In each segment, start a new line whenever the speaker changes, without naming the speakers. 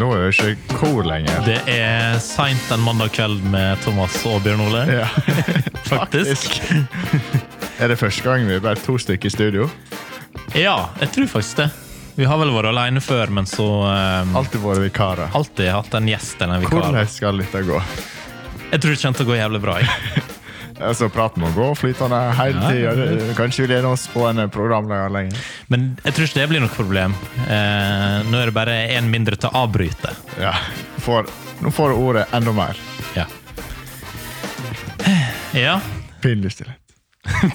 nå er jo ikke kor lenger.
Det er seint en mandag kveld med Thomas og Bjørn Ole.
Ja.
Faktisk.
Er det første gang vi er bare to stykker i studio?
Ja, jeg tror faktisk det. Vi har vel vært alene før, men så um,
Alltid våre vikarer.
alltid hatt en gjest eller en vikar.
Hvordan skal dette gå?
Jeg tror det kommer til å gå jævlig bra. jeg.
Altså, Praten må gå flytende hele
Ja,
tida. Kanskje vi lener oss på en programleder lenger.
Men jeg tror ikke det blir noe problem. Eh, nå er det bare én mindre til å avbryte.
Ja. For, nå får du ordet enda mer.
Ja. ja.
Pinlig stillhet.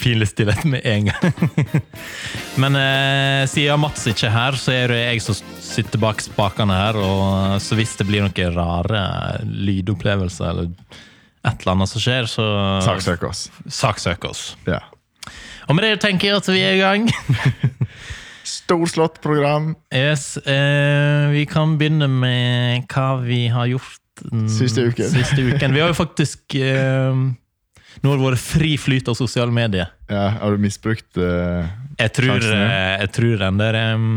Pinlig stillhet med en gang. Men eh, siden Mats ikke er her, så er det jeg som sitter bak spakene her. Og så hvis det blir noen rare lydopplevelser eller et eller annet som skjer, så
Saksøk oss.
saksøk oss.
Ja.
Og med det tenker jeg at vi er i gang.
Storslått program
Yes, eh, vi kan begynne med hva vi har gjort den
Siste uken.
Siste uken. Vi har jo faktisk eh, Nå har det vært fri flyt av sosiale medier.
ja, Har du misbrukt eh,
Jeg tror,
Sjansen, ja.
eh, jeg tror den der em,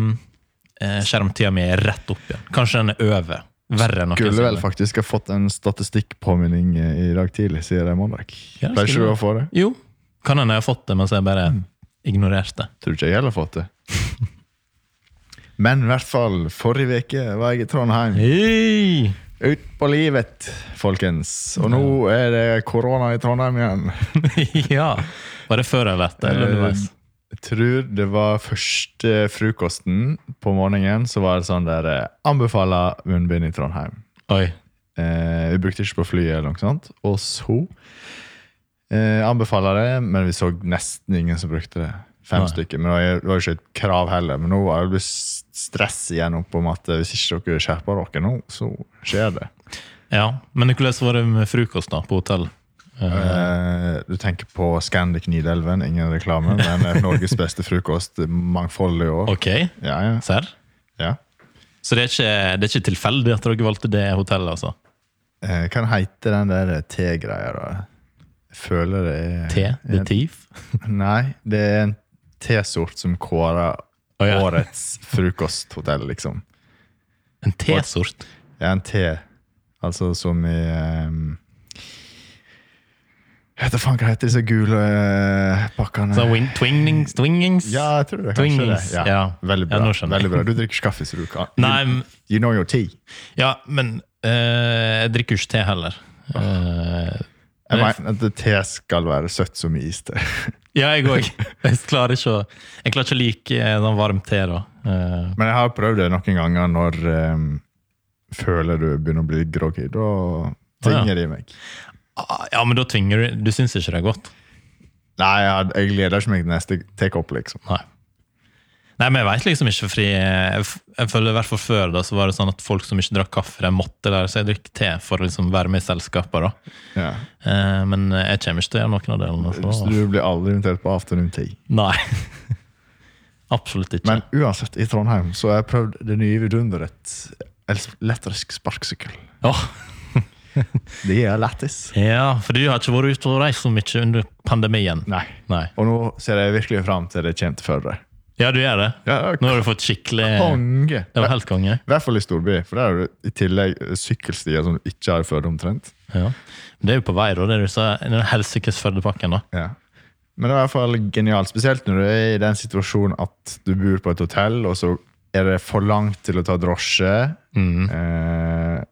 eh, skjermtida mi er rett opp igjen. Kanskje den er over. Verre enn noe.
Skulle vel faktisk ha fått en statistikkpåminning eh, i dag tidlig, siden det er mandag.
Ja, det
Pleier ikke
skulle
du
du.
å få det?
Jo, kan hende jeg har fått det, mens jeg bare ignorerte det.
Tror ikke jeg heller har fått det. Men i hvert fall, forrige uke var jeg i Trondheim.
Hei!
Ut på livet, folkens. Og nå er det korona i Trondheim igjen.
ja. Var det før eller etter? Eller underveis?
Jeg tror det var første frokosten på morgenen, så var det sånn der eh, Anbefaler munnbind i Trondheim.
Oi.
Eh, vi brukte ikke på flyet eller noe sånt. Og så eh, anbefaler jeg det, men vi så nesten ingen som brukte det. Fem
Nei.
stykker, men det var jo- det var jo ikke et krav heller. Men nå har det blitt stress igjen opp om at eh, hvis ikke dere skjerper dere nå, så skjer det.
Ja. Men hvordan var det med frokost da, på hotell? Eh,
Eh, du tenker på Scandic Nidelven, ingen reklame, men eh, Norges beste frokost. Mangfoldig år.
ok,
Ja, ja,
serr?
ja.
Så det er, ikke, det er ikke tilfeldig at dere valgte det hotellet, altså?
Eh, hva heter den der te-greia, da? Jeg føler det er
Te? The Thief?
Nei, det er en T-sort som kårer
Å, ja.
årets frokosthotell, liksom.
En T-sort?
Det er en T, altså som i um, Heter faen hva heter disse gule eh, pakkene?
Sånn wing- twingings? Twingings?
Ja, jeg tror det. kanskje det.
Twingings, ja.
Veldig bra.
Ja, nå skjønner jeg.
veldig bra. Du drikker ikke kaffe, så du kan
Nei, men-
You, you know your tea.
Ja, men eh, jeg drikker jo ikke te heller. Eh,
Jeg
Det-
mener at te skal være søtt som iste.
ja, jeg òg. Jeg klarer ikke å Jeg klarer ikke å like eh, sånn varm te, da. Eh,
Men jeg har prøvd det noen ganger når em, føler du begynner å bli groggy. Da
Å, ja.
tvinger de meg.
ah, ja, men da tvinger du Du syns ikke det er godt?
Nei, jeg, jeg gleder ikke meg til neste take-up, liksom.
Nei. Nei, men jeg veit liksom ikke, fordi jeg, f- jeg føler i hvert fall før da, så var det sånn at folk som ikke drakk kaffe, de måtte lære seg å drikke te for å liksom være med i selskaper. da.
Ja.
Eh, men jeg kommer ikke til å gjøre noen av delene.
Så
Så.
du blir aldri invitert på afternoon tea.
Nei. Absolutt ikke.
Men uansett, i Trondheim så har jeg prøvd det nye vidunderet. els- Elektrisk sparkesykkel.
Åh.
Det er lættis.
Ja, for du har ikke vært ute og reist så mye under pandemien.
Nei.
Nei.
Og nå ser jeg virkelig fram til det kommer til Førde.
Ja, du gjør det.
Ja,
Nå har du fått skikkelig
konge!
Det var
I
helt konge.
hvert fall i storby, for der er det i tillegg sykkelstier som du ikke har i Førde omtrent.
Ja. Men Det er jo på vei, da. Det er jo så, den helsikes Førdepakken, da.
Ja. Men det er i hvert fall genialt, spesielt når du er i den situasjonen at du bor på et hotell, og så er det for langt til å ta drosje.
Mm.
Eh,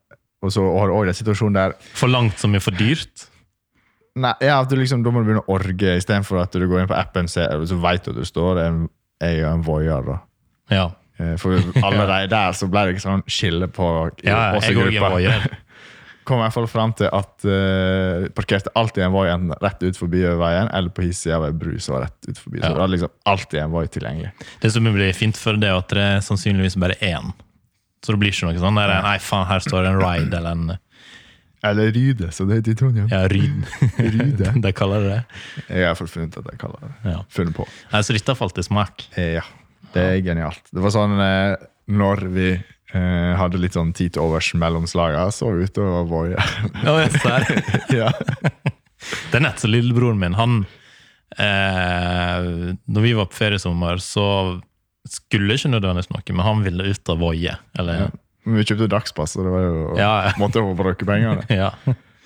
og så har du òg den situasjonen der
For langt som er for dyrt.
Nei, ja, at du liksom, Da må du begynne å orge, istedenfor at du går inn på appen ser, og så veit du at du står en, jeg er en voier. da.
Ja.
Eh, For allerede der så ble det ikke sånn skille på
ja
oss i
jeg går ikke
gruppa.
voier.
Kom i hvert fall fram til at eh, parkerte alltid en voi enten rett ut forbi veien eller på hissida ved ei bru som var rett ut forbi. Så
Ja.
det var liksom alltid en voi tilgjengelig.
Det som blir fint for det, er at det er sannsynligvis bare én. Så det blir ikke noe sånn der, Nei, faen, her står det en ride eller en
Eller Ryde, som det heter i Trondheim.
ja, Ryd.
Ryde.
De kaller det det.
Jeg har funnet at jeg kaller det.
Ja.
Funnet på.
Nei, Så dette falt i smak.
Eh, Ja, det er genialt. Det var sånn eh, når vi eh, hadde litt sånn tid til overs mellom slaga, så vi ute og voie.
Oh, yes, der.
ja.
Det er nett som lillebroren min. Han eh, Når vi var på feriesommer, så skulle ikke nødvendigvis noe, men han ville ut av Voie. Eller
Men vi kjøpte dagspass, og det var jo
Ja, ja.
måtte jo bruke pengene.
Ja.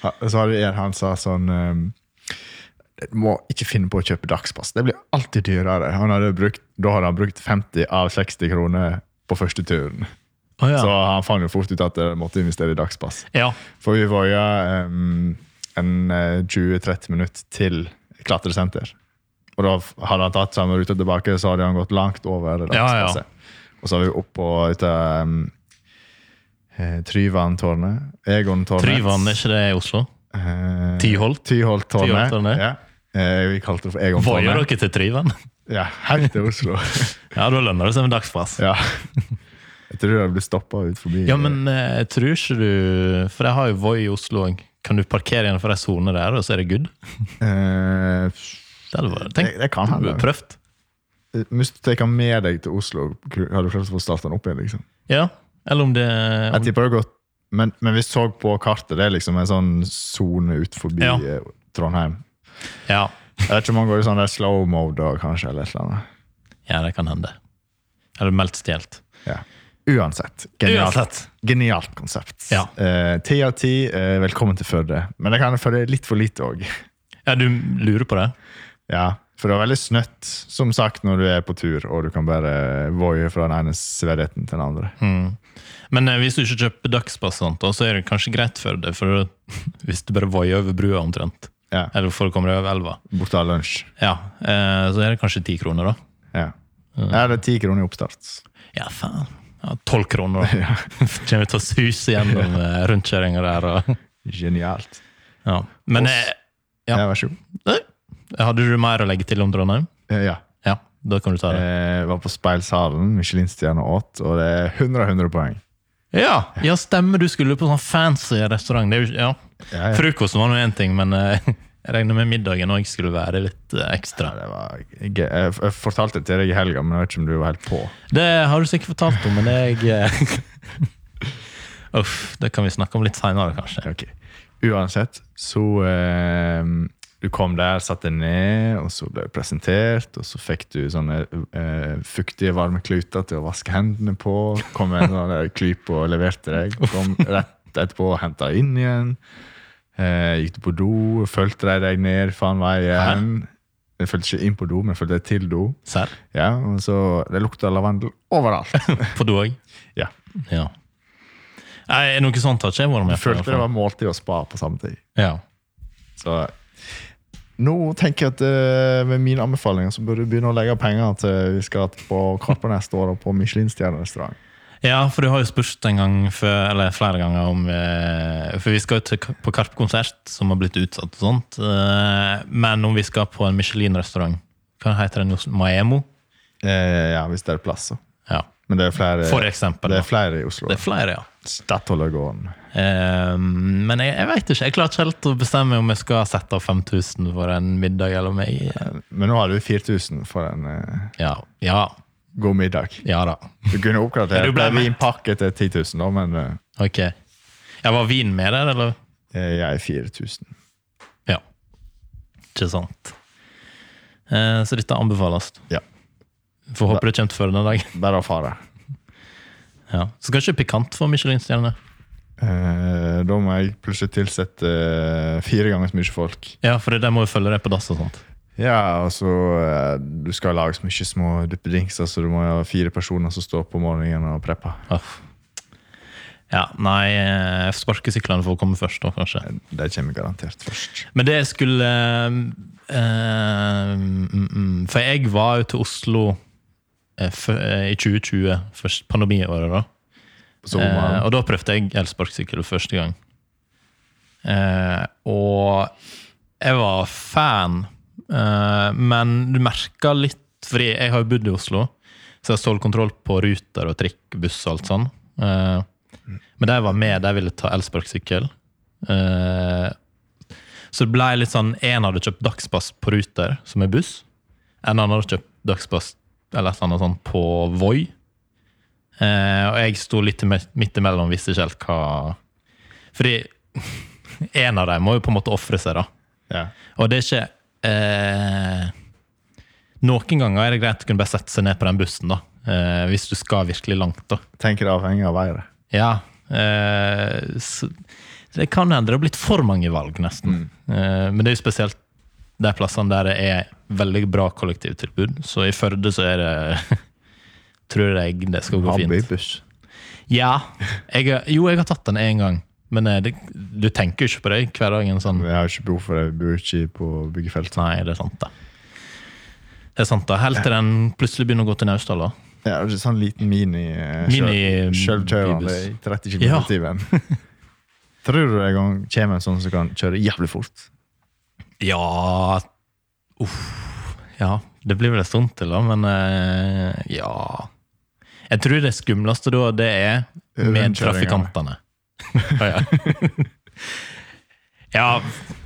Ha- Så hadde en han sa sånn um, du må ikke finne på å kjøpe dagspass. Det blir alltid dyrere. Han hadde brukt, da hadde han brukt 50 av 60 kroner på første turen.
Å, ja.
Så han fant jo fort ut at jeg måtte investere i dagspass.
ja.
For vi var jo um, en eh, 20-30 minutter til klatresenter. Og da f- hadde han tatt samme rute tilbake, så hadde han gått langt over
ja.
dagspasset. Og så var vi opp på ut av, um, eh, Tryvannstårnet. Egontårnet.
Tryvann, er ikke det i Oslo?
Eh,
Tyholt?
Tyholttårnet.
Tyholttårnet.
Ja. Eh, vi kalte det for
Voier
Egontårnet.
dere til Tryvann?
Ja, helt til Oslo.
Ja, da lønner det seg med dagspass.
ja. Jeg tror jeg ble stoppa ut forbi.
Ja, men eh, jeg tror ikke du For jeg har jo Voi i Oslo òg. Kan du parkere innenfor ei sone der, og så er det good?
eh,
Det hadde vært Tenk,
Det- det kan
du
hende.
burde prøvd.
Hvis Eh, du tar med deg til Oslo, hadde du klart å få starta den opp igjen? liksom.
Ja. Eller om det
Jeg tipper det har gått men, men vi så på kartet, det er liksom en sånn sone ut forbi
Ja.
eh, Trondheim.
Ja.
Jeg vet ikke om han går i sånn der slow mode da, kanskje, eller et eller annet.
ja, det kan hende. Eller meldt stjålet.
Ja. Uansett. Genialt,
Uansett.
genialt konsept.
Ja.
Eh, Ti av ti, eh, velkommen til Førde. Men jeg kan føle litt for lite òg.
Ja, du lurer på det?
Ja, for det er veldig snøtt, som sagt, når du er på tur, og du kan bare voie fra den ene svedigheten til den andre.
Mm. Men eh, hvis du ikke kjøper dagspass, og sånt, da, så er det kanskje greit for deg. For hvis du bare voier over brua omtrent,
Ja,
eller for å komme deg over elva,
Borte av lunsj.
ja, eh, så er det kanskje ti kroner, da.
Ja. Ja, det er ti kroner i oppstart.
Ja, faen. Ja, Tolv kroner, da. Kommer vi til å suse gjennom eh, rundkjøringa der. Og,
Genialt.
ja. Men eh, Ja.
Ja, vær så god.
eh, hadde du mer å legge til om Trondheim?
Eh, Ja.
Ja, da kan du ta det.
Eh, var på Speilsalen, Michelin-stjerne 8, og det er 100 av 100 poeng.
Ja, ja stemmer. Du skulle på sånn fancy restaurant. Det er jo, ikke- ja.
Ja, ja.
Frokosten var nå én ting, men eh, jeg regner med middagen òg skulle være litt eh,
Ja,
ekstra.
Det var, jeg, jeg, jeg fortalte det til deg i helga, men jeg vet ikke om du var helt på.
Det har du sikkert fortalt om, men jeg eh, Uff, det kan vi snakke om litt seinere, kanskje.
Ok. Uansett, så eh, Du kom der, satt deg ned, og så ble du presentert, og så fikk du sånne eh, fuktige, varme kluter til å vaske hendene på. Kom med en sånn der klype og leverte deg. Kom rett etterpå og henta inn igjen. Eh, gikk du på do, fulgte de deg ned faen veien. Jeg fulgte ikke inn på do, men jeg fulgte deg til do.
Serr?
Ja, og så Det lukta lavendel overalt.
På du òg?
Ja.
Ja. Nei, noe sånt har ikke jeg vært med
Jeg følte
i
det
hvert
var måltid og spa på samme tid.
fall. Ja.
Så nå tenker jeg at eh, med mine anbefalinger så burde du begynne å legge penger til vi skal på Karpe neste år og på Michelin-stjernerestaurant.
ja, for du har jo spurt en gang før, eller flere ganger om eh, For vi skal jo til, K- på Karp-konsert, som har blitt utsatt og sånt. eh, Men om vi skal på en Michelin-restaurant Hva heter den? i Oslo? Maemo?
Eh, ja, hvis det er plass, så.
Ja.
Men det er flere,
For eksempel.
Eh, det
da.
er flere i Oslo.
Det er flere, ja.
Statoilergården.
Eh, men jeg, jeg vet ikke. Jeg klarer ikke helt å bestemme om jeg skal sette av 5000 for en middag eller om jeg
Men nå har du 4000 for en eh,
Ja, ja,
god middag.
ja da.
Du kunne
Ja,
oppgradert
du ble
ja,
med.
vinpakke til 10 000, da, men eh,
Ok. Ja, var vin med der, eller?
jeg er 4000.
Ja. Ikke sant. Eh, så dette anbefales.
Ja.
Får håpe det kommer til Førde en dag.
Bare å fare.
Ja. Så kanskje pikant for Michelin-stjerne.
Eh, da må jeg plutselig tilsette eh, fire ganger så mye folk.
Ja, for det der må jo følge deg på dass og sånt.
Ja, altså eh, Du skal lage så mye små duppedingser, så du må jo ha fire personer som står opp om morgenen og prepper.
Uff. Ja, nei, eh, jeg sparker syklene for å komme først, da, kanskje.
De kommer garantert først.
Men det skulle eh, eh, mm, mm, For jeg var jo til Oslo eh, fø- eh, i 2020, først pandemiåret, da.
På sommeren.
Eh, og da prøvde jeg elsparkesykkel for første gang. Eh, og jeg var fan, eh, men du merka litt Fordi jeg har jo bodd i Oslo, så jeg stått kontroll på ruter og trikk, buss og alt sånn. Eh, men de var med, de ville ta elsparkesykkel. Eh, så det blei litt sånn En hadde kjøpt dagspass på Ruter, som er buss. En annen hadde kjøpt dagspass eller et eller annet sånt på Voi. Eh, og jeg sto litt i me- midt imellom, visste ikke helt hva Fordi en av dem må jo på en måte ofre seg, da.
ja.
Og det er ikke eh, Noen ganger er det greit å kunne bare sette seg ned på den bussen, da. Eh, hvis du skal virkelig langt, da.
Tenker det avhenger av været.
Ja. eh, s- det kan hende det har blitt for mange valg, nesten. Eh, men det er jo spesielt de plassene der det er veldig bra kollektivtilbud. Så i Førde så er det Tror jeg det skal gå fint.
Habibuss.
Ja. Jeg, har- jo, jeg har tatt den én gang. Men eh, det, du tenker jo ikke på det i hverdagen. sånn.
Jeg har ikke behov for det. Vi bor ikke på byggefelt.
Nei, det er sant, det. Det er sant da, Helt til den plutselig begynner å gå til Naustdal. da.
Jeg har ikke sånn liten mini
Mini-
Sjølvkjørende
bybuss.
i 30 km
Ja.
i timen. Tror du en gang kommer en sånn som kan kjøre jævlig fort?
Ja Uff. Ja, det blir vel en stund til, da, men eh, ja Jeg tror det skumleste da, det er med
Rundkjøringene.
trafikantene. Å, ja. ja,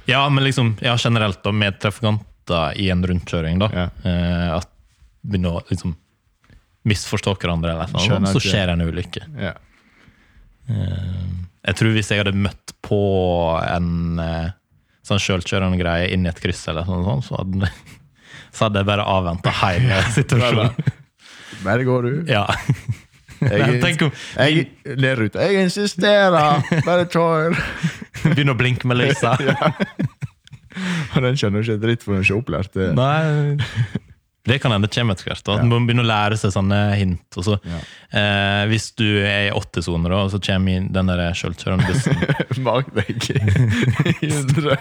ja, men liksom Ja, generelt, da, med trafikanter i en rundkjøring, da.
Ja.
eh, at begynner å liksom misforstå hverandre, eller noe,
Skjønner
sånt, så
ikke.
skjer en ulykke.
Ja.
Eh, Jeg tror hvis jeg hadde møtt på en eh, sånn sjølkjørende greie inn i et kryss, eller noe sånt, så hadde, så hadde jeg bare avventa hele situasjonen.
Bare går du.
Ja. Men tenk om
Jeg ler ut. Jeg insisterer! Bare kjør!
Begynner å blinke med lysa.
Og den skjønner ikke dritt, for den er ikke opplært. Det.
Nei. Det kan hende kommer etter hvert. da, At Man begynner å lære seg sånne hint. Og så, eh, hvis du er i 80-sone, da, og så kommer inn den der sjølkjørende bussen
Bak deg i hundre.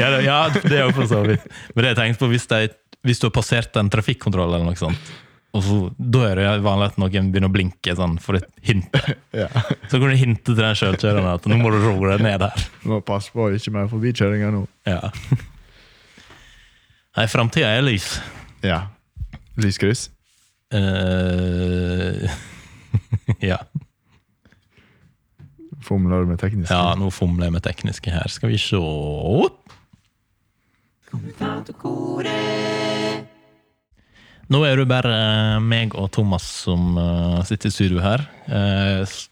ja, det, ja, det er jo for så vidt. Men det jeg tenkte på, hvis, de- hvis du har passert en trafikkontroll, eller noe sånt, og så, da er det vanlig at noen begynner å blinke sånn, for et hint.
Ja.
Så kan du hinte til den sjølkjørende at nå må du roe deg ned her.
Må passe på ikke mer forbikjøringer nå.
Ja. Nei, framtida er lys.
Ja. Lyskryss.
Eh, ja.
Fomler med teknisk.
ja, nå fomler jeg med tekniske her. Skal vi se Nå er det bare eh, meg og Thomas som eh, sitter i studio her. Eh, s-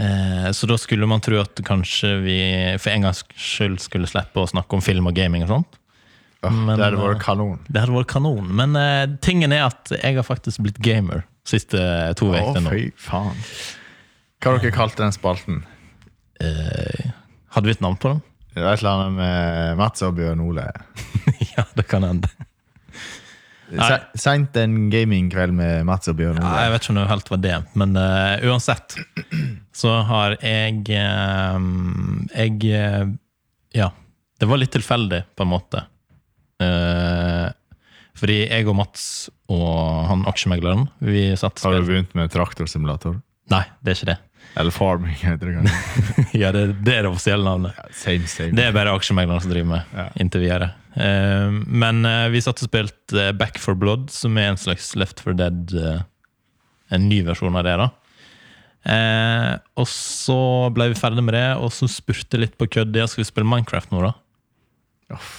eh, Så da skulle man tro at kanskje vi for en gangs skyld skulle slippe å snakke om film og gaming og sånt.
Åh,
men,
det hadde
eh,
vært kanon.
Det hadde vært kanon. Men eh, tingen er at jeg har faktisk blitt gamer siste to
Å,
ukene nå.
fy faen. Hva har dere kalt den spalten?
Eh, Hadde vi et navn på den?
Det var et eller annet med Mats og Bjørn Ole.
ja, det kan hende. Nei.
Se- Seint en gamingkveld med Mats og Bjørn
Ja,
Ole.
jeg vet ikke om det helt var det, men eh, uansett så har jeg eh, Jeg eh, Ja. Det var litt tilfeldig, på en måte. Eh, fordi jeg og Mats og han aksjemegleren, vi satt
Har du
spill.
begynt med traktorsimulator?
Nei, det er ikke det.
Eller farming, heter det kanskje.
ja, det, det er det offisielle navnet.
Same, same.
Det er bare aksjemeglerne som driver med,
Ja.
inntil videre. Eh, men eh, vi satt og spilte eh, Back for Blood, som er en slags Left for Dead eh, En ny versjon av det, da. Eh, og så ble vi ferdig med det, og så spurte jeg litt på kødd ja, skal vi spille Minecraft nå, da.
Uff.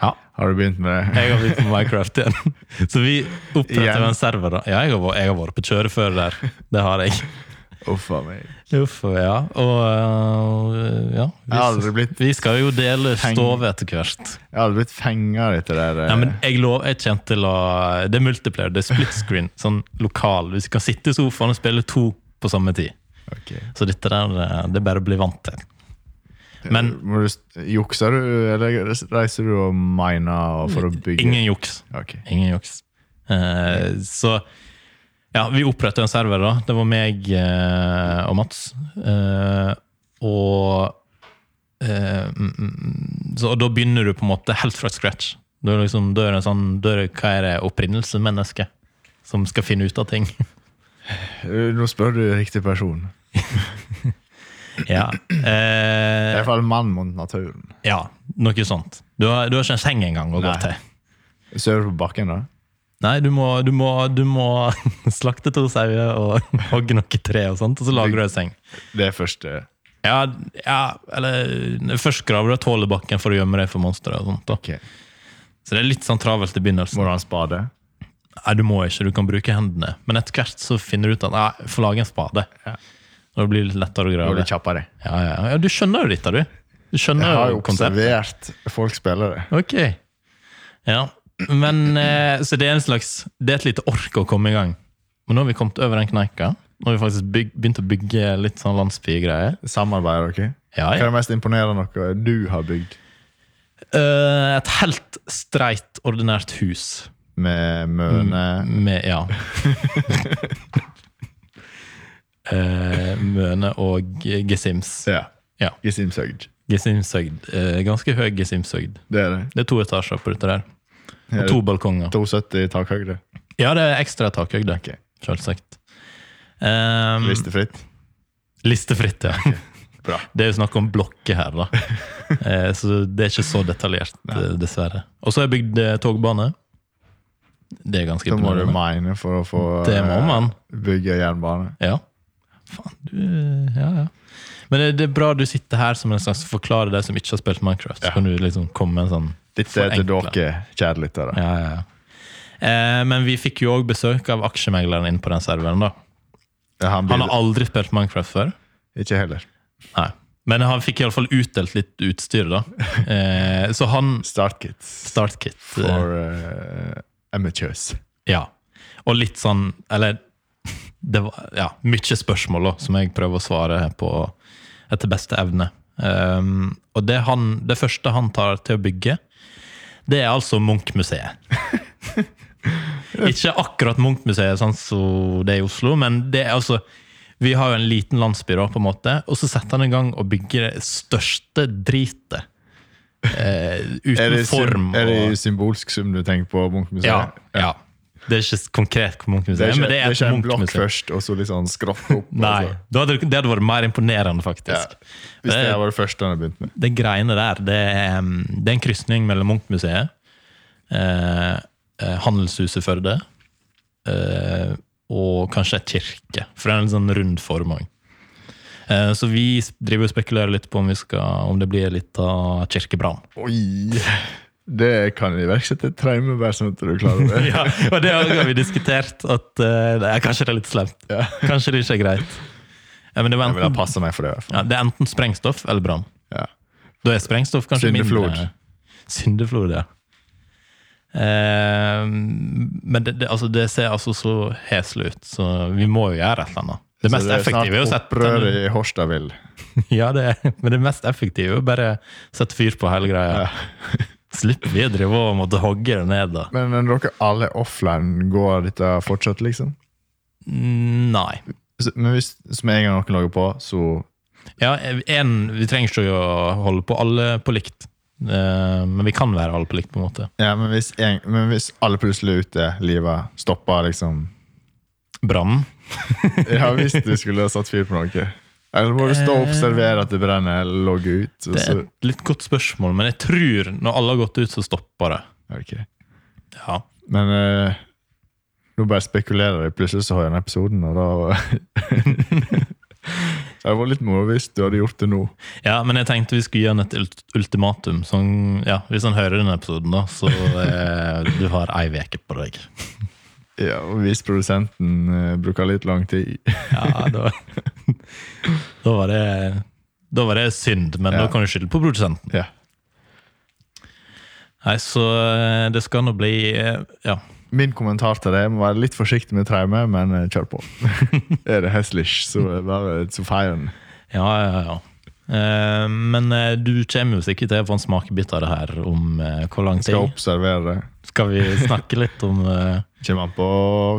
Ja.
Har du begynt med det?
Jeg har begynt med Minecraft igjen. Så vi opprettet
Igjen?
en server. da. Ja, jeg har, vært- jeg har vært på kjøret før der. Det har jeg.
Uff a meg.
Uff, ja. Og eh, ja.
Jeg har aldri
Vi,
blitt,
vi skal jo dele
Heng-
stove etter hvert.
jeg har aldri blitt fenga etter det der. eh.
Nei, men jeg lov, jeg kommer til å Det er multiplayer, det er split screen. Sånn lokal. Du kan sitte i sofaen og spille to på samme tid.
Ok.
Så dette der, eh, det er bare å bli vant til. Men
Må du, st- jukser du, eller reiser du og miner og for å bygge?
ingen juks.
Ok.
Ingen juks. Eh, så ja, vi oppretta en server, da. Det var meg eh, og Mats. Eh, og eh, mm, mm, så, og da begynner du på en måte helt fra scratch. Da er det liksom, da er det en sånn, da er det, hva er det opprinnelsesmenneske som skal finne ut av ting?
Eh, Nå spør du riktig person.
ja.
I
Eh,
hvert fall mann mot naturen.
ja, noe sånt. Du har, du har ikke en seng engang å gå
Nei.
til.
Sover du på bakken, da?
Nei, du må, du må, du må slakte to sauer og hogge noe tre, og sånt, og så lager du en seng.
Det er første
Ja, ja eller Først graver du et hull i bakken for å gjemme deg for monstre. og sånt da.
Ok.
Så det er litt sånn travelt i begynnelsen.
Må du ha en spade?
Nei, du må ikke, du kan bruke hendene. Men etter hvert så finner du ut at nei, få lage en spade.
Ja.
Og det blir litt lettere
Da
å
er
grave.
du kjappere.
Ja, ja, ja, Du skjønner jo dette, du. Du
Jeg
skjønner
har jo
jo konseptet.
observert folk spille det.
Ok. Ja. Men, eh, så det er en slags Det er et lite ork å komme i gang. Men nå har vi kommet over den kneika. Nå har vi faktisk byg, begynt å bygge litt sånn landsbygreier.
Samarbeider dere?
Ja,
Hva
ja.
er det mest imponerende noe du har bygd
Eh, et helt streit, ordinært hus.
med Møne?
Med, ja. Eh, Møne og Gesims.
Ja.
Ja.
Gesimsøgd.
Gesimshøgd. Eh, ganske høy Gesimshøgd.
Det er det.
Det er to etasjer på dette der.
Er
Og
det
to balkonger.
270 i takhøyde.
Ja, det er ekstra takhøyde,
Ok.
selvsagt. Ehm,
Listefritt.
listefritt, ja.
Bra.
Det er jo snakk om blokker her, da. Eh, så det er ikke så detaljert, eh, dessverre. Og så har jeg bygd eh, togbane. Det er ganske
Da må du
imponerende.
mine for å få
Det må
eh,
man.
bygge jernbane.
Ja. Faen, du eh, Ja, ja. Men eh, det, det er bra du sitter her som en slags forklarer deg som ikke har spilt Minecraft. Så kan du liksom komme med en sånn
Dette er til
Forenkla.
dere, kjære lyttere.
Ja, ja, ja. Eh, men vi fikk jo òg besøk av aksjemegleren inn på den serveren. da.
Ja, Han
Han
blir
har aldri spilt Minecraft før.
ikke heller.
Nei. Men han fikk iallfall utdelt litt utstyr, da. Eh, så han
Startkits
Startkit. eh,
for eh, amateurs.
Ja. Og litt sånn Eller det var ja, mye spørsmål da, som jeg prøver å svare på etter beste evne. Um, og det, han, det første han tar til å bygge, det er altså Munch-museet. Ikke akkurat Munch-museet, sånn som det er i Oslo, men det er altså Vi har jo en liten landsby, da, på en måte, og så setter han i gang og bygger det største dritet. Eh, uten
Er det, sym-
form.
er
og-
det symbolsk sum du tenker på Munchmuseet?
ja, ja. Det er ikke konkret
Det
hvor
er
Munch-museet er,
ikke,
men det er
ikke
et
en blokk
Munch-museum.
først, og så litt sånn skrått opp. og
Nei,
så-
da hadde, det- det hadde vært mer imponerende,
Ja.
faktisk.
Hvis
Det-
det var det første han hadde begynt med.
Det greiene der, det er, um, det er en krysning mellom Munch-museet, eh, eh, Handelshuset Førde eh, og kanskje et kirke, for det er en sånn rund form òg. Eh, så vi s- driver og spekulerer litt på om, vi skal, om det blir litt av kirkebrann.
Oi! Det kan iverksette et traume, bare sånn at du klarer det.
Ja, og det har vi diskutert. At eh, nei, kanskje det er litt slemt.
Ja.
Kanskje det ikke er greit. Ja, men det, var
Jeg vil ha
enten,
passet meg for det. i hvert fall.
ja, det er enten sprengstoff eller brann.
Ja.
Da er sprengstoff kanskje
Syndeflod.
mindre. Syndeflod. ja. Eh, men det, det, altså, det ser altså så heslig ut, så vi må jo gjøre et eller annet. Det mest effektive er jo å
snart opprør
sette
i Horstadvill.
ja, det, er- Men det mest effektive er jo bare sette fyr på hele greia.
Ja.
Slipper vi å drive og måtte hogge det ned, da.
Men når dere alle er offline, går dette fortsatt, liksom?
Nei.
Så- Men hvis som en gang noen lager på, så
Ja, en, vi trenger ikke å holde på alle på likt. Eh, Men vi kan være alle på likt, på en måte.
Ja, men hvis, en, men hvis alle plutselig er ute, livet stopper, liksom
Brann.
Ja, hvis du skulle ha satt fyr på noe. Eller må du stå og observere at det brenner, eller logge ut? Og
Det er
så,
et litt godt spørsmål, men jeg tror når alle har gått ut, så stopper det.
Ok.
Ja.
Men eh, nå bare spekulerer jeg. Plutselig så har jeg den episoden, og da Det hadde vært litt moro hvis du hadde gjort det nå.
ja, men jeg tenkte vi skulle gi han et ult- ultimatum. Sånn, ja, hvis han hører denne episoden, da, så eh, du har ei uke på deg.
Ja, og Hvis produsenten eh, bruker litt lang tid.
Ja, da, da var det Da var det synd, men
Ja.
da kan du skylde på produsenten.
Ja.
Nei, så eh, det skal nå bli eh, Ja.
Min kommentar til det må være litt forsiktig med traume, men eh, kjør på. er det heslish, så er det bare to feiren.
Ja, ja, ja. Eh, men eh, du kommer jo sikkert til å få en smakebit av det her om eh, hvor lang tid.
Skal observere det.
Skal vi snakke litt om eh,
Kommer an på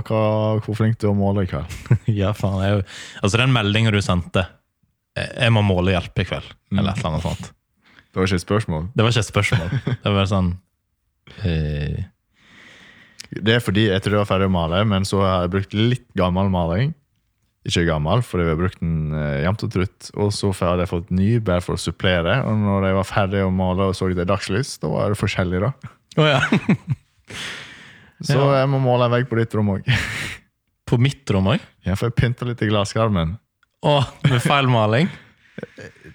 hva, hvor flink du er å måle i kveld.
Ja, faen. Jeg, er jo- altså, den meldinga du sendte eh, Jeg må måle hjelp i kveld, eller et eller annet sånt.
Det var ikke et spørsmål.
Det var ikke et spørsmål. Det var bare sånn eh,
Det er fordi jeg trodde jeg var ferdig å male, men så har jeg brukt litt gammel maling. Ikke gammel, fordi vi har brukt den eh, jevnt og trutt. Og så hadde jeg fått ny bare for å supplere. Og når jeg var ferdig å male og så det i dagslys, da var det forskjellig, da.
Å ja.
Så
Ja.
jeg må måle en vegg på ditt rom òg.
På mitt rom òg?
Jeg får pynta litt i glasskarmen.
Å, med feil maling?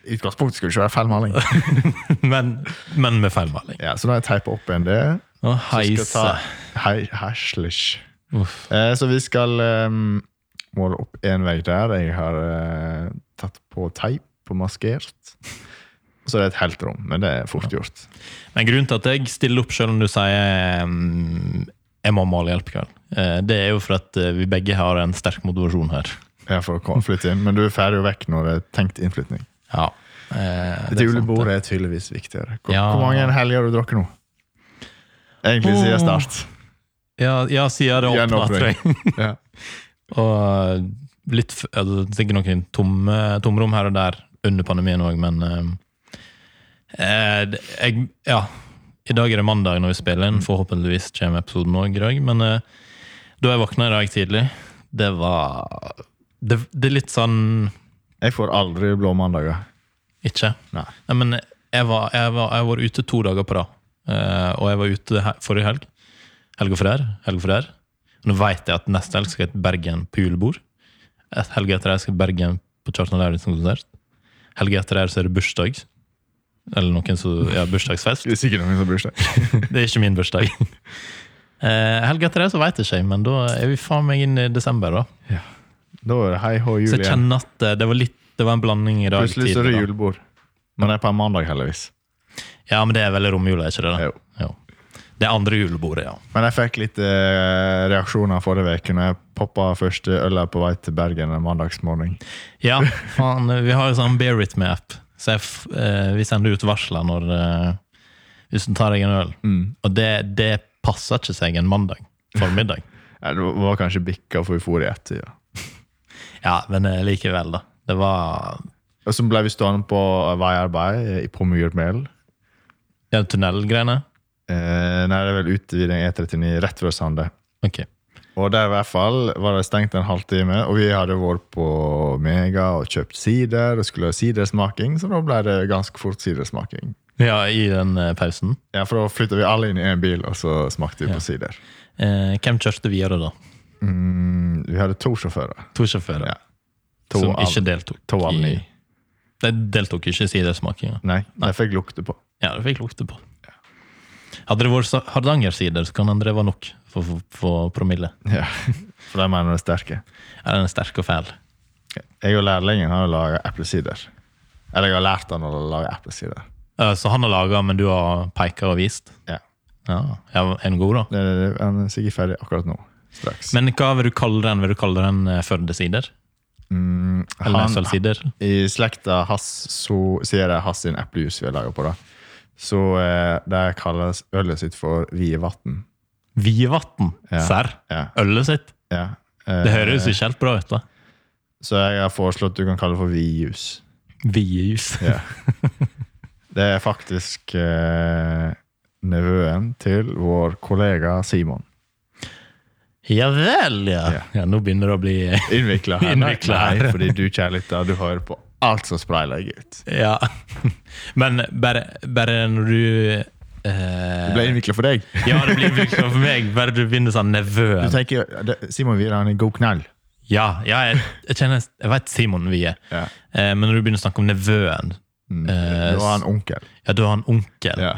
I utgangspunktet skulle det ikke være feil maling.
Men, men med feil maling.
Ja, så nå har jeg teipa opp igjen det.
Å,
Så skal jeg
heise.
ta hei, haslish.
Uff.
Eh, så vi skal ehm, måle opp en vegg der. Jeg har eh, tatt på teip og maskert. Og så er det et helt rom, men det er fort gjort.
Men grunnen til at jeg stiller opp selv om du sier mm, jeg må male hjelp i kveld, eh, det er jo for at eh, vi begge har en sterk motivasjon her.
Ja, for å ko- flytte inn. Men du er ferdig jo vekk når det er tenkt innflytning.
Ja. Eh,
Dette
det er sant, det.
julebordet er tydeligvis viktigere. Hvor,
Ja.
hvor mange helger har du drukket nå? Egentlig siden
Åh.
start.
Ja, ja siden det
Igjen
åpna,
åpning.
tror jeg.
Ja.
Og litt f- altså, ja, Det er sikkert noen tomme, eh, tomrom her og der under pandemien òg, men eh, eh, det- jeg, Ja. I dag er det mandag når vi spiller inn. Forhåpentligvis kommer episoden òg, Grøg. Men eh, da jeg våkna i dag tidlig, det var Det, det er litt sånn
Jeg får aldri blå mandager.
Ikke.
Nei.
Nei, men jeg var, jeg var, jeg var ute to dager på rad. Eh, og jeg var ute he forrige helg. Helg og frær. Helg og frær. Nå vet jeg at neste helg skal jeg til Bergen på julebord. Et helg etter det skal jeg til Bergen på Kjartan Lauritzen-konsert. Helg etter det så er det bursdag. Eller noen som Ja, bursdagsfest.
Det er sikkert noen som bryr seg.
Det er ikke min bursdag. Uh, helg etter det så veit jeg ikke, men da er vi faen meg inn i desember, da.
Da er det hei hå jul
Så jeg
igjen.
kjenner at eh, det var litt det var en blanding i dag.
Plutselig så er det
tidlig, da.
julebord. Men det er på en mandag, heldigvis.
Ja, men det er vel romjula, er ikke det? da?
Jo.
Jo. Det andre julebordet, ja.
Men jeg fikk litt eh, reaksjoner forrige uke når jeg poppa første øla på vei til Bergen en mandagsmorgen.
Ja, faen, Vi har jo sånn Bear It Me-app, så jeg, f- eh, vi sender ut varsler når eh, Hvis du tar deg en øl.
Mm.
Og det, det passer ikke seg en mandag formiddag.
Ja, Eh, Det var kanskje bikka for eufori etter. Ja.
Ja, men eh, likevel, da. Det var
Og så ble vi stående på veiarbeid eh, på Myrmel.
ja, tunnelgreiene.
Eh, nei, det er vel utvidning E39 rett ved Sande.
Ok.
Og der i hvert fall var det stengt en halvtime, og vi hadde vært på Mega og kjøpt sider og skulle ha sidersmaking, så da ble det ganske fort sidersmaking.
Ja, i den eh, pausen.
Ja, For da flytta vi alle inn i en bil, og så smakte vi på sider.
Eh, hvem kjørte videre, da?
Mm, vi hadde to sjåfører.
To sjåfører
Ja. To
som
av-
ikke deltok.
To av ni.
i- De deltok ikke i sidesmakinga.
Nei, det fikk lukte på.
Ja, det fikk lukte på. Hadde det vært så- Hardanger-sider, så kan hende det var nok for, for, for promille.
Ja. For de mener det er sterke.
Ja, den er sterk og fæl.
Jeg og lærlingen har laga eplesider. Eller jeg har lært han å lage eplesider.
Eh, Så han har laga, men du har peka og vist?
Ja.
Ja, ja Er den god, da?
Det- det- det- Han er sikkert ferdig akkurat nå. Straks.
Men hva vil du kalle den? Vil du kalle den eh, Førde-sider? Eller
Mm, Han-
Naustdal-sider?
I slekta hans så sier de hans sin eplejus vi har laga på. da. Så eh, de kalles ølet sitt for Vievatn.
Vievatn?
Ja.
Serr?
Ja,
Ølet sitt?
ja. Eh,
Det høres jo ikke helt bra ut, da.
Så jeg har foreslått du kan kalle det for Viejus.
Viejus.
Ja. Det er faktisk eh, nevøen til vår kollega Simon.
Ja vel, ja.
Ja.
ja. Nå begynner det å bli
Innvikla her. nei.
Innviklet her.
Nei, fordi du kjærligheter, du hører på alt som sprayler jeg ut.
Ja. Men bare, bare når du eh,
Det ble innvikla for deg.
Ja, det blir brukt for meg. Bare du begynner sånn
Du
nevøen.
tenker, det- Simon Vier han er en god knall.
Ja, ja jeg, jeg kjenner Jeg vet Simon Wie,
Ja.
eh, men når du begynner å snakke om nevøen,
Mm.
Eh,
Nå er han onkel.
ja, da er han onkel.
Ja.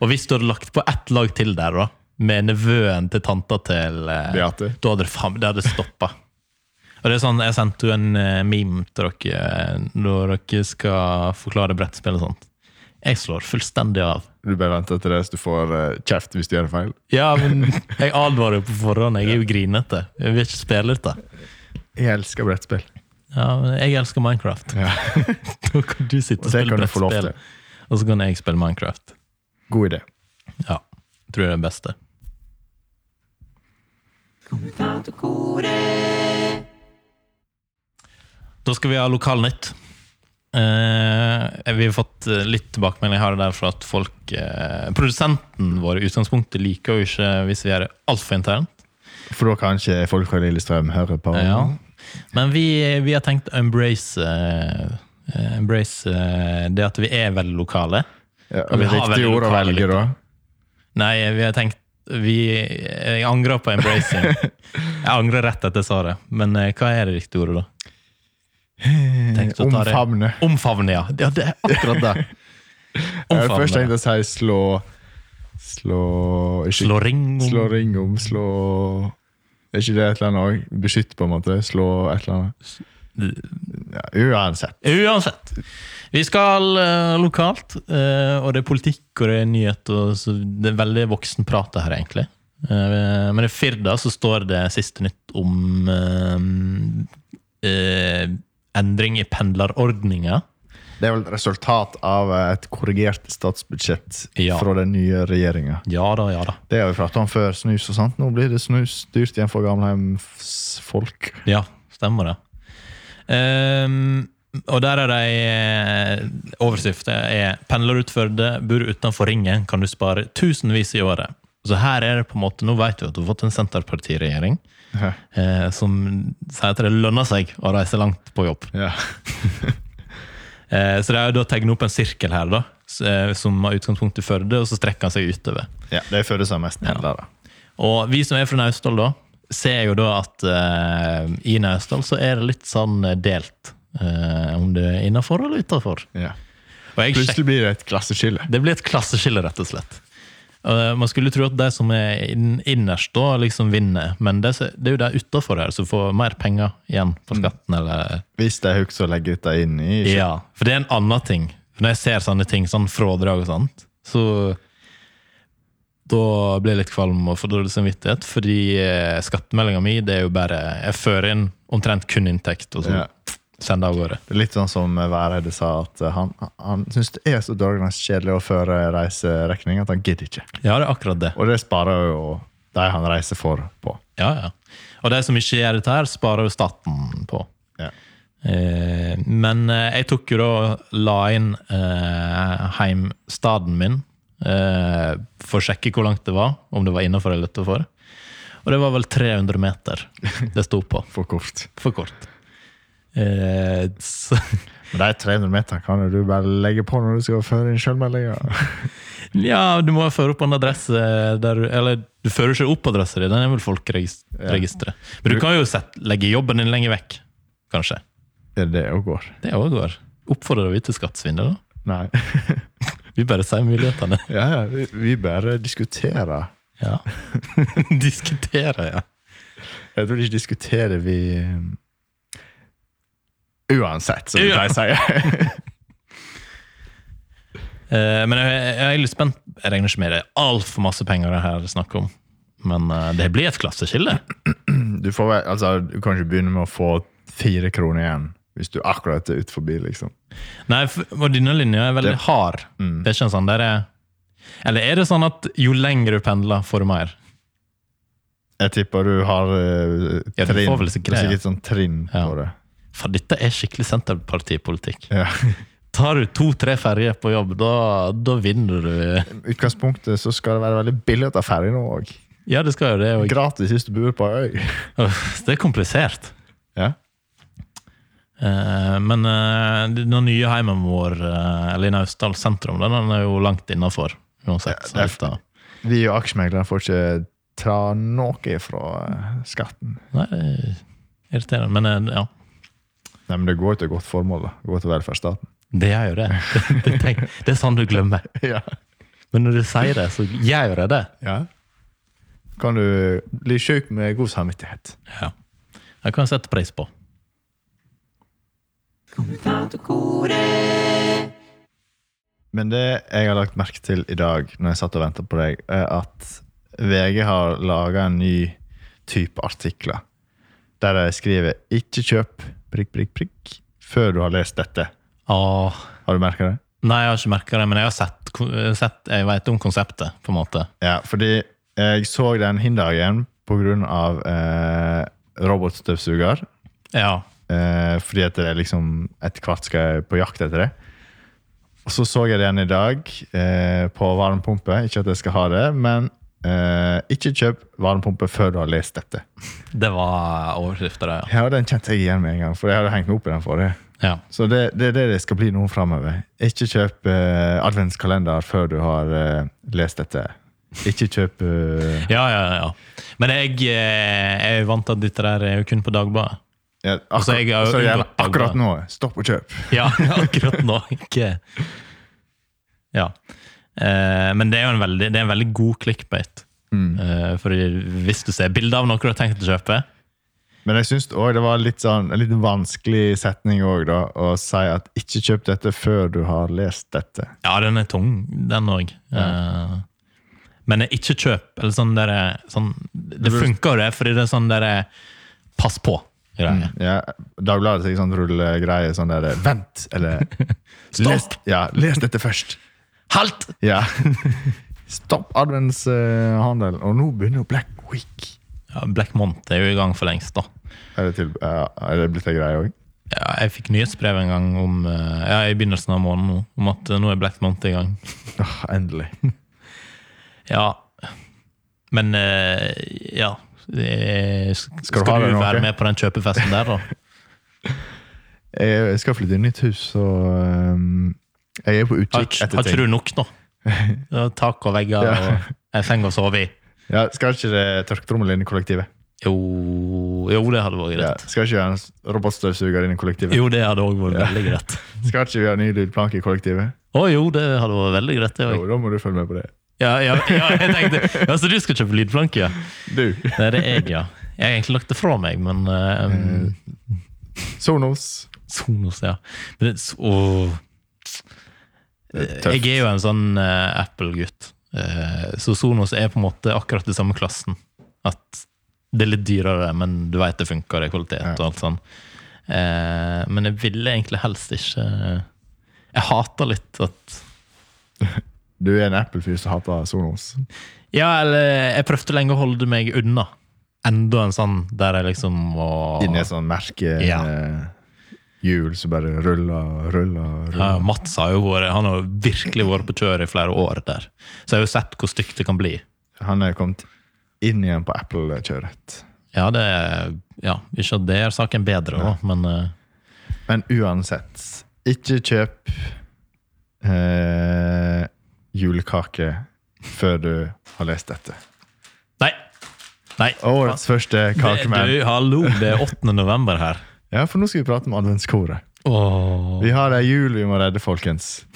Og hvis du hadde lagt på ett lag til der, da, med nevøen til tanta til eh,
Beate.
Da hadde det faen Det hadde stoppa. Og det er sånn, Jeg sendte jo en eh, meme til dere eh, når dere skal forklare brettspill og sånt. Jeg slår fullstendig av.
Du bare venter til det, så du får eh, kjeft hvis du gjør en feil.
Ja, men jeg advarer jo på forhånd. Jeg er jo grinete. Jeg vil ikke spille dette.
Jeg elsker brettspill.
Ja, men jeg elsker Minecraft.
Ja.
Da kan du
Og
sitte og
det
spille
kan du få lov til.
brettspill, og så kan jeg spille Minecraft.
God idé.
Ja, tror jeg er det beste. Da skal vi ha lokalnytt. Eh, vi har fått eh, litt tilbakemelding her og der fra at folk eh, Produsenten vår i utgangspunktet liker jo ikke hvis vi gjør det altfor internt.
For da kan ikke folk fra Lillestrøm høre på.
Ja. Men vi, vi har tenkt å embrace, eh, embrace eh, det at vi er veldig lokale.
Ja,
Ja, vi
det er
har
riktig
veldig
ord å
lokale
velge, da.
Nei, vi har tenkt vi, Jeg angrer på embracing. Jeg angrer rett etter jeg sa det. Men eh, hva er det riktige ordet, da? Tenkte å ta det.
Eh, Omfavne.
Omfavne, ja. ja det er akkurat det.
Jeg hadde først tenkt å
Omfavne.
si slå Slå ikke,
Slå ring om
slå ring om, slå Er ikke det et eller annet òg? Beskytt, på en måte. Slå et eller annet. Ja, uansett.
Uansett. Vi skal eh, lokalt, eh, og det er politikk og det er nyhet. Og så det er veldig voksen prat det her, egentlig. Eh, men i Firda så står det siste nytt om eh, eh, endring i pendlerordninga.
Det er vel et resultat av et korrigert statsbudsjett
Ja.
fra den nye regjeringa.
Ja da, ja da.
Det har vi pratet om før, snus og sånt. Nå blir det snus dyrt igjen for gamlehjemsfolk.
Ja, stemmer det. Ehm, og der er det ei overskrift. Det er 'Pendler ut Førde, bor utenfor ringen, kan du spare tusenvis i året'. Så her er det på en måte, Nå vet du at du har fått en Senterpartiregjering
Ja.
eh, som sier at det lønner seg å reise langt på jobb.
Ja.
Eh, så det er jo da tegnet opp en sirkel her, da, s- eh, som har utgangspunkt i Førde, og så strekker han seg utover.
ja, det er Førde som er mest pendlere.
Og vi som er fra Naustdal, da, ser jo da at eh, i Naustdal så er det litt sånn eh, delt. eh, om det er innafor eller utafor.
Ja.
Og jeg sjekk-
Plutselig blir det et klasseskille.
det blir et klasseskille, rett og slett. Eh, man skulle tro at de som er inn- innerst, da liksom vinner, men det, som- det er jo de utafor her som får mer penger igjen på skatten. eller...
Hvis de husker å legge dette inn i
Ja, for det er en annen ting. For når jeg ser sånne ting, sånn frådrag og sånt, så da blir jeg litt kvalm og får dårlig samvittighet, fordi eh, skattemeldinga mi det er jo bare Jeg fører inn omtrent kun inntekt, og så
Ja.
sender jeg av gårde.
Det er litt sånn som Væreide sa, at eh, han, han syns det er så dårlig kjedelig å føre reiseregning at han gidder ikke.
Ja, det er akkurat det.
Og det sparer jo de han reiser for, på.
Ja, ja. Og de som ikke gjør dette, her, sparer jo staten på.
Ja.
Eh, men eh, jeg tok jo da la inn eh, heimstaden min eh, for å sjekke hvor langt det var, om det var innenfor eller utenfor. Og det var vel 300 meter det sto på.
For kort.
For kort. Eh, så,
Men de 300 meterne kan jo du bare legge på når du skal føre inn sjølmeldinga.
ja, du må jo føre opp en adresse der du Eller du fører ikke opp adressa di, den er vel folkeregisteret. Men du kan jo sette, legge jobben din lenger vekk, kanskje.
Det er det òg går.
Det òg går. Oppfordrer vi til skattesvindel, da?
Nei.
Vi bare sier mulighetene.
Ja, ja, vi, vi bare diskuterer.
Ja. Diskutere, ja.
Jeg tror ikke diskuterer vi eh, Uansett, som de
Ja.
pleier å si.
Eh, men jeg, jeg er litt spent. Jeg regner ikke med det er altfor masse penger det her er snakk om. Men eh, det blir et klasseskille.
Du, får, vel- altså, du kan ikke begynne med å få fire kroner igjen hvis du akkurat er ut forbi, liksom. Mm.
Nei, f- og denne linja er veldig
Det-
hard. Det er ikke en sånn der er Eller er det sånn at jo lenger du pendler, får du mer?
Jeg tipper du har eh,
Ja, du
trinn.
får vel sikkert det, ja.
sikkert sånn trinn
Ja.
på det.
For dette er skikkelig Senterpartipolitikk.
Ja.
Tar du to-tre ferjer på jobb, da, da vinner du.
I utgangspunktet så skal det være veldig billig å ta ferje nå òg.
Ja, det skal jo det. og-
Gratis hvis du bor på ei øy.
Uff, Det er komplisert.
Ja.
Eh, Men eh, den nye heimen vår, eh, eller i Naustdal sentrum, den den er jo langt innafor. Uansett. så
det er-
litt av-
Vi og aksjemeglere får ikke ta noe fra eh, skatten.
Nei, det er irriterende. Men eh, ja,
Nei, men det går jo til godt formål. da. Det går til velferdsstaten.
det gjør jo det. Det, tenk, det er sånn du glemmer.
Ja.
Men når du sier det, så gjør jeg det.
Kan du bli sjuk med god samvittighet?
Ja. Jeg kan sette pris på.
Men det jeg har lagt merke til i dag, når jeg satt og ventet på deg, er at VG har laga en ny type artikler. Der de skriver 'ikke kjøp prikk, prikk, prikk' før du har lest dette.
Åh.
Har du merka det?
Nei, jeg har ikke merka det, men jeg har sett, eh, sett Jeg vet om konseptet, på en måte.
Ja, fordi jeg så den hin dagen pga. Eh, robotstøvsuger.
Ja.
Eh, fordi at det er liksom etter hvert skal jeg på jakt etter det. Og så så jeg det igjen i dag eh, på varmepumpe. Ikke at jeg skal ha det, men eh, ikke kjøp varmepumpe før du har lest dette.
Det var overskrifta, det,
Ja, Den kjente jeg igjen med en gang, for jeg hadde hengt meg opp i den forrige.
ja.
Så det, det er det det skal bli nå framover. Ikke kjøp eh, adventskalender før du har eh, lest dette. Ikke kjøp eh,
Ja, ja, ja. ja. Men jeg, eh, jeg er jo vant til at dette der er jo kun på Dagbladet.
ja,
Altså, jeg har
akkurat,
jo
så gjerne
unngått Dagbladet.
akkurat nå. Stopp og kjøp.
Ja, akkurat nå. Ikke Ja. Eh, men det er jo en veldig, det er en veldig god clickbait. Eh, for hvis du ser bilde av noe du har tenkt å kjøpe
Men jeg syns også det var litt sånn, en litt vanskelig setning også, da, å si at ikke kjøp dette før du har lest dette.
Ja, den er tung, den òg. Eh, men ikke kjøp. Eller sånn der, sånn, det funker, det, fordi det er sånn der Pass på. greier.
Ja, Dagbladet sier sånn rullegreie sånn der 'vent' eller
Stopp!
Les, ja, les dette først.
Halt!
Ja. Stopp adventshandel, og nå begynner Black Week.
Ja, Black Month er jo i gang for lengst, da.
Er det, til, ja, er det blitt ei greie òg?
Ja, jeg fikk nyhetsbrev en gang om, eh, ja, i begynnelsen av måneden nå, om at eh, nå er Black Month i gang.
Åh, endelig.
Ja. Men eh, ja. Eh, Skal,
Skal du
skal
ha
du
det,
være
Åke?
med på den kjøpefesten der, da?
Jeg skal flytte inn i nytt hus, så ehm, jeg er på
Har
utkikk
ikke
etter
har ikke
ting.
du nok, da? Ja, Tak og vegger
Ja.
og en seng å sove i.
Ja, skal ikke det tørketrommel inn i kollektivet?
Jo, jo det hadde vært
Ja,
greit.
skal ikke vi ha en robotstøvsuger inn i kollektivet?
Jo, det hadde òg vært veldig greit.
Skal ikke vi ha ny lydplanke i kollektivet?
Å jo, det hadde vært veldig greit, det
Jo,
òg.
da må du følge med på det.
Ja, ja, ja, jeg tenkte Ja, så du skal kjøpe lydplanke, ja?
Du,
Nei, det er jeg, ja. Jeg har egentlig lagt det fra meg, men
Mm.
eh,
Sonos.
Sonos, ja. Men det, åh.
tøft.
Jeg er jo en sånn eh, Apple-gutt, Eh, så Sonos er på en måte akkurat i samme klassen. At det er litt dyrere, men du veit det funker, det er kvalitet og alt sånn. Eh, men jeg ville egentlig helst ikke eh, Jeg hater litt at
Du er en Apple-fyr som hater Sonos.
Ja, eller jeg prøvde lenge å holde meg unna. Enda en sånn der jeg liksom åh,
Inni et sånt merkehjul
Ja.
eh, som bare ruller og ruller. og ruller.
Ja, Mats har jo vært, han har jo virkelig vært på kjøret i flere år der. Så jeg har jo sett hvor stygt det kan bli.
Han er kommet inn igjen på Apple-kjøret.
Ja, det er, ja ikke at det er saken bedre, da, men eh,
Men uansett, ikke kjøp eh, julekake før du har lest dette.
Nei! Nei.
Årets første kakemann.
Det- Du, hallo, det er 8. november her.
Ja, for nå skal vi prate om adventskoret.
Åh.
Vi har ei jul vi må redde, folkens.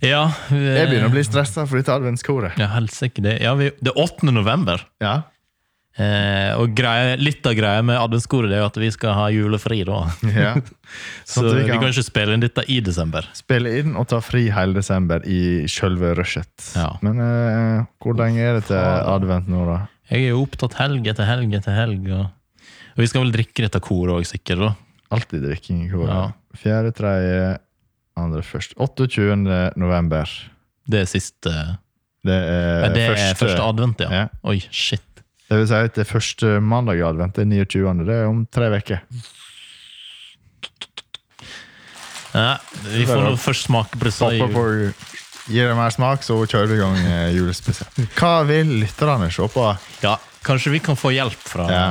Ja, vi,
Jeg begynner å bli stressa for dette adventskoret.
ja, helsike, det. Ja, vi, det er 8. november.
Ja.
Eh, og greie, litt av greia med adventskoret er jo at vi skal ha julefri da.
ja.
Så
Sånn at
vi kan ikke spille inn dette i desember.
spille inn og ta fri hele desember i sjølve rushet.
Ja.
Men eh, hvor lenge er det til advent nå, da?
Jeg er jo opptatt helg etter helg etter helg. Og, og vi skal vel drikke dette koret òg, sikkert. da.
Alltid drikking i koret.
Ja.
Fjerde, tredje, andre først. 28. november.
Det er siste ja,
Det er,
Det er
Eh, første,
første, advent, ja.
Ja.
Oi, shit.
Det vil si at det er første mandag i advent. Det er 29. Det er om tre uker.
Ja, vi får nå først smake på disse.
Stopper på Gir det mer smak, så kjører vi i gang eh, julespesial. Hva vil lytterne se på?
Ja, kanskje vi kan få hjelp fra
Ja.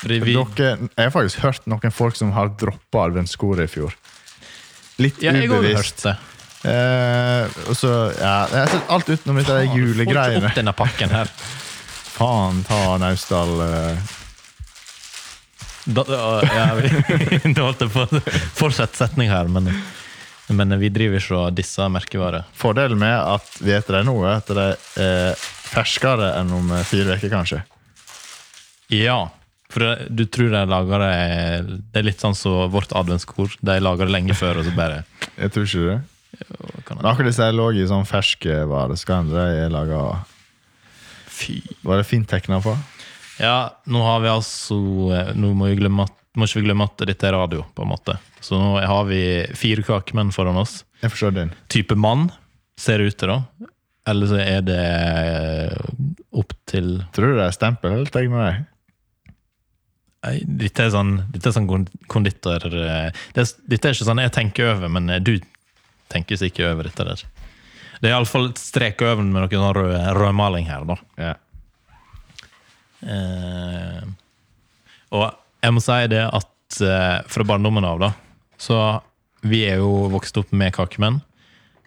Fordi vi,
Dere, jeg har faktisk hørt noen folk som har droppa adventskoret i fjor. Litt
ja, jeg har også
ubevisst.
hørt det.
Eh, og så, ja, jeg har sett alt utenom dette der
Får ikke
julegreiene.
opp denne pakken her.
Faen ta Naustdal eh.
Da, å, ja, vi, nå holdt jeg på å fortsette setning her, men, men vi driver ikke og disser merkevarer.
Fordelen med at vi eter det nå, er at det er ferskere enn om eh, fire uker, kanskje.
Ja, for det- du tror de lager det Det er litt sånn som vårt adventskor. De lager det lenge før, og så bare
Jeg tror ikke det.
Å, kan
Men
jeg-
akkurat disse lå i sånn ferskvare. Så kan de er laga
Fy.
Var det fint tegna på?
Ja, nå har vi altså Nå må vi glemme at må ikke vi glemme at dette er radio, på en måte. Så nå har vi fire kakemenn foran oss.
Jeg forstår den.
Type mann, ser det ut til, da. Eller så er det opp til
Tror du det er stempel eller tegner de?
Nei, Dette er sånn, dette er sånn kon- konditor... eh, Det er, dette er ikke sånn jeg tenker over, men eh, du tenker sikkert over dette der. Det er iallfall strek over med noe sånn rød, rødmaling her, da.
Ja.
Eh, og jeg må si det at eh, fra barndommen av, da Så vi er jo vokst opp med kakemenn.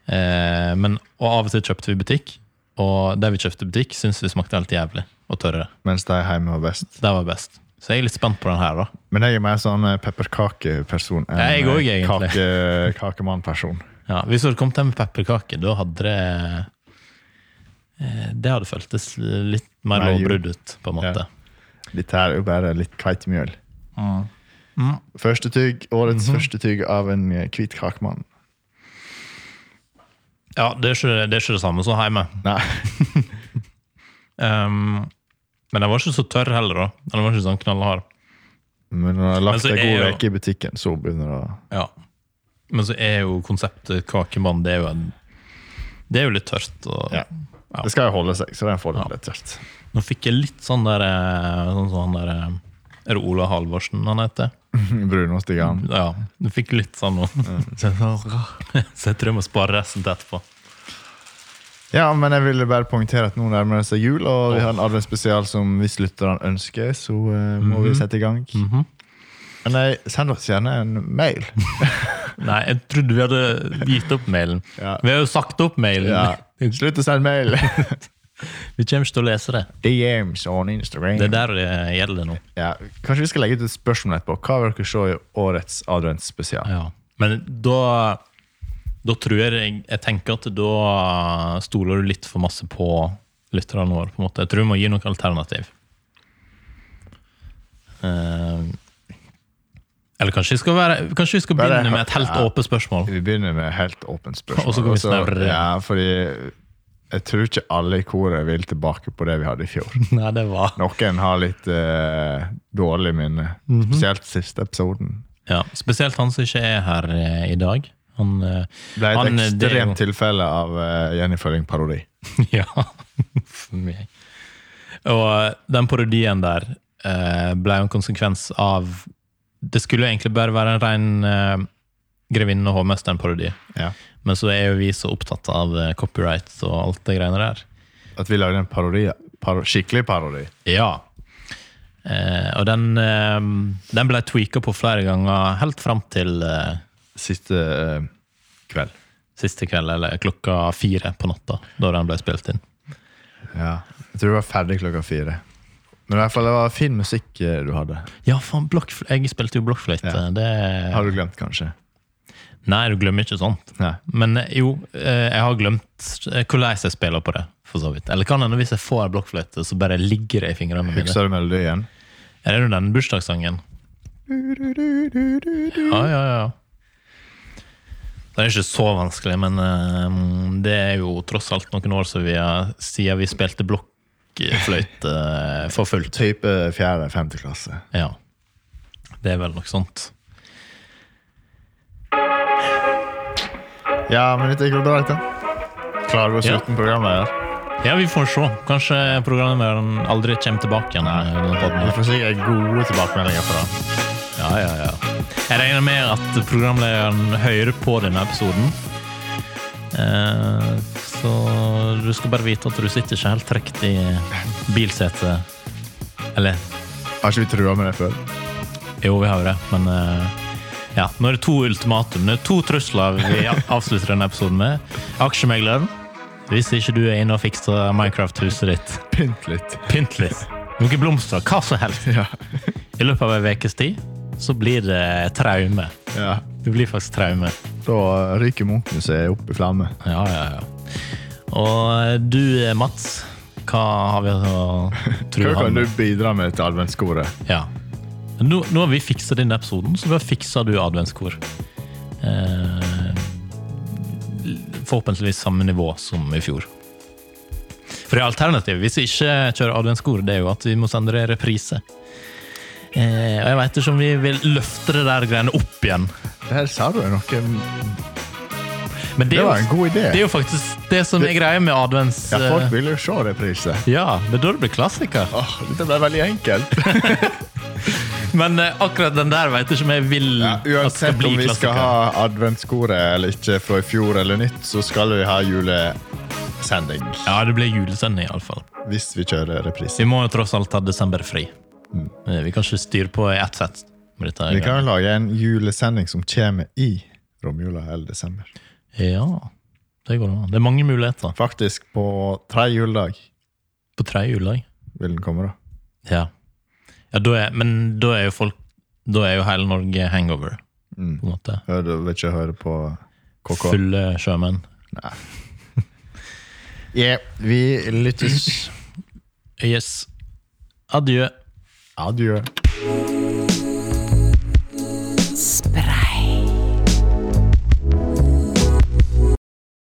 Eh, men, og av og til kjøpte vi butikk, og der vi kjøpte butikk, syntes vi smakte helt jævlig og tørre.
Mens de hjemme var best.
Det var best. Så jeg er litt spent på den her, da.
Men jeg er mer sånn eh, pepperkakeperson enn
Jeg òg,
eh,
egentlig.
kake, kakemannperson.
Ja, hvis du hadde kommet hjem med pepperkake, da hadde det eh, Det hadde føltes litt mer
Nei, jo.
lovbrudd ut, på en måte.
Dette her er jo bare litt kveitemjøl.
Mm.
Første tygg, årets
Mhm.
første tygg av en eh, hvit kakemann.
Ja, det er, ikke, det er ikke det samme som hjemme.
Nei,
Ehm, Men den var ikke så tørr heller, da. Den var ikke sånn knallhard.
Men når jeg har lagt
Men så
ei
Altså, er
god
jo-
uke i butikken, så begynner det å
Ja. Men så er jo konseptet kakemann det er jo, en, det er jo litt tørt. Og,
Ja.
Ja.
Det skal jo holde seg, så den får det
Ja.
litt tørt.
Nå fikk jeg litt sånn der eh, Sånn som han der eh, Er det Ola Halvorsen han heter?
Brunost i gang.
Ja. Du fikk litt sånn nå. så jeg tror jeg må spare resten til etterpå.
Ja, men jeg ville bare poengtere at nå nærmer det seg jul, og vi har en adventsspesial som hvis lytterne ønsker, så eh, må
Mhm.
vi sette i gang. Men nei, send oss gjerne en mail.
Nei, jeg trodde vi hadde gitt opp mailen.
Ja.
Vi har jo sagt opp mailen.
Ja. Slutt å sende mail!
Vi kommer ikke til å lese det.
DMs on Instagram.
Det er der det gjelder nå.
Ja, kanskje vi skal legge ut et spørsmål etterpå. Hva vil dere se i årets adventsspesial?
Ja. Men da Da tror jeg Jeg tenker at da stoler du litt for masse på lytterne våre. på en måte. Jeg tror vi må gi noe alternativ. Eh, eller kanskje vi skal, være, kanskje vi skal
Bare-
begynne med et helt
ja.
åpent spørsmål.
Vi begynner med helt åpent spørsmål.
Og så går vi snarere.
Ja, fordi jeg tror ikke alle i koret vil tilbake på det vi hadde i fjor.
Nei, det var
Noen har litt eh, dårlig minne.
Mhm.
Spesielt siste episoden.
ja, Spesielt han som ikke er her eh, i dag. Han, eh,
Det ble et
han, eh, det er jo-
ekstremt tilfelle av eh, Jenny Følling-parodi.
Ja, for meg. Og eh, den parodien der eh, ble jo en konsekvens av Det skulle jo egentlig bare være en ren eh, Grevinnen og hovmesteren-parodi,
Ja.
men så er jo vi så opptatt av eh, copyright og alt det greiene der.
At vi lagde en parodi, paro skikkelig parodi.
Ja. Eh, og den, eh, den ble tweaka på flere ganger helt fram til eh,
Siste eh, kveld.
siste kveld, eller klokka fire på natta, da den ble spilt inn.
Ja. Jeg tror det var ferdig klokka fire. Men i hvert fall det var fin musikk eh, du hadde.
Ja, faen, blokkfl- jeg spilte jo blokkfløyte.
Ja.
Det-
Har du glemt, kanskje?
Nei, du glemmer ikke sånn. sånt.
Nei.
Men eh, jo, eh, jeg har glemt eh, hvordan jeg spiller på det. for så vidt. Eller kan hende hvis jeg får en blokkfløyte, så bare ligger det i fingrene mine.
Husker du melodien?
Er det jo den bursdagssangen? Ja, ja, ja. Den er ikke så vanskelig, men eh, det er jo tross alt noen år siden vi, har- siden vi spilte blokkfløyte eh, for fullt.
Type fjerde-femte klasse.
Ja. Det er vel nok sånt.
Ja, men dette gikk jo bra, dette. Klarer du å
Ja.
slutte med programmet? her?
Ja, vi får se. Kanskje programlederen aldri kommer tilbake igjen. eh, i denne podden.
Vi får sikkert gode tilbakemeldinger på det.
Ja, ja, ja. Jeg regner med at programlederen hører på denne episoden. Eh, Så du skal bare vite at du sitter ikke helt trekt i bilsetet. Eller
Har ikke vi trua med det før?
jo, vi har jo det, men eh, ja. Nå er det to ultimatum. Det er to trusler vi avslutter denne episoden med. Aksjemegleren, hvis ikke du er inne og fikser Minecraft-huset ditt,
Pynt litt.
pynt litt. Noen blomster, hva som helst.
Ja.
I løpet av ei ukes tid så blir det traume.
ja.
Det blir faktisk traume.
Da ryker Munchmuseet opp i flamme.
Ja, ja, ja. Og eh, du, Mats, hva har vi å tro
Hva kan
han
du bidra med til adventskoret?
Ja. Nå, nå har vi fiksa denne episoden, så da fikser du adventskor. Eh, forhåpentligvis samme nivå som i fjor. For det er alternativet hvis vi ikke kjører adventskor, det er jo at vi må sende det i reprise. Eh, og jeg veit ikke om vi vil løfte det der greiene opp igjen.
Der sa du noe
Men det,
Det
er,
var en
jo,
god idé.
det er jo faktisk det som er greia med advents...
Ja, folk
eh,
ville jo se reprise.
Ja, men da det blir klassiker.
Åh, dette ble veldig enkelt.
Men eh, akkurat den der vet jeg ikke om jeg vil
Ja,
Mm. at skal
uansett
bli
om vi skal
klassiker.
ha adventskoret eller ikke fra i fjor eller nytt, så skal vi ha julesending
Ja, det blir julesending iallfall.
hvis vi kjører reprise.
Vi må jo tross alt ha desember fri. Eh, Vi kan ikke styre på i ett sett. med dette
Vi
her.
kan jo lage en julesending som kommer i romjula eller desember.
Ja, det går an. Det er mange muligheter
Faktisk på tre juledag
på tre juledag.
vil den komme, da.
Ja. Ja, da er, men da er jo folk Da er jo hele Norge hangover,
Mm.
på en måte.
Hør, du vil ikke høre på KK.
Fulle sjømenn.
Ja, vi lyttes.
Yes. Adjø.
Adjø.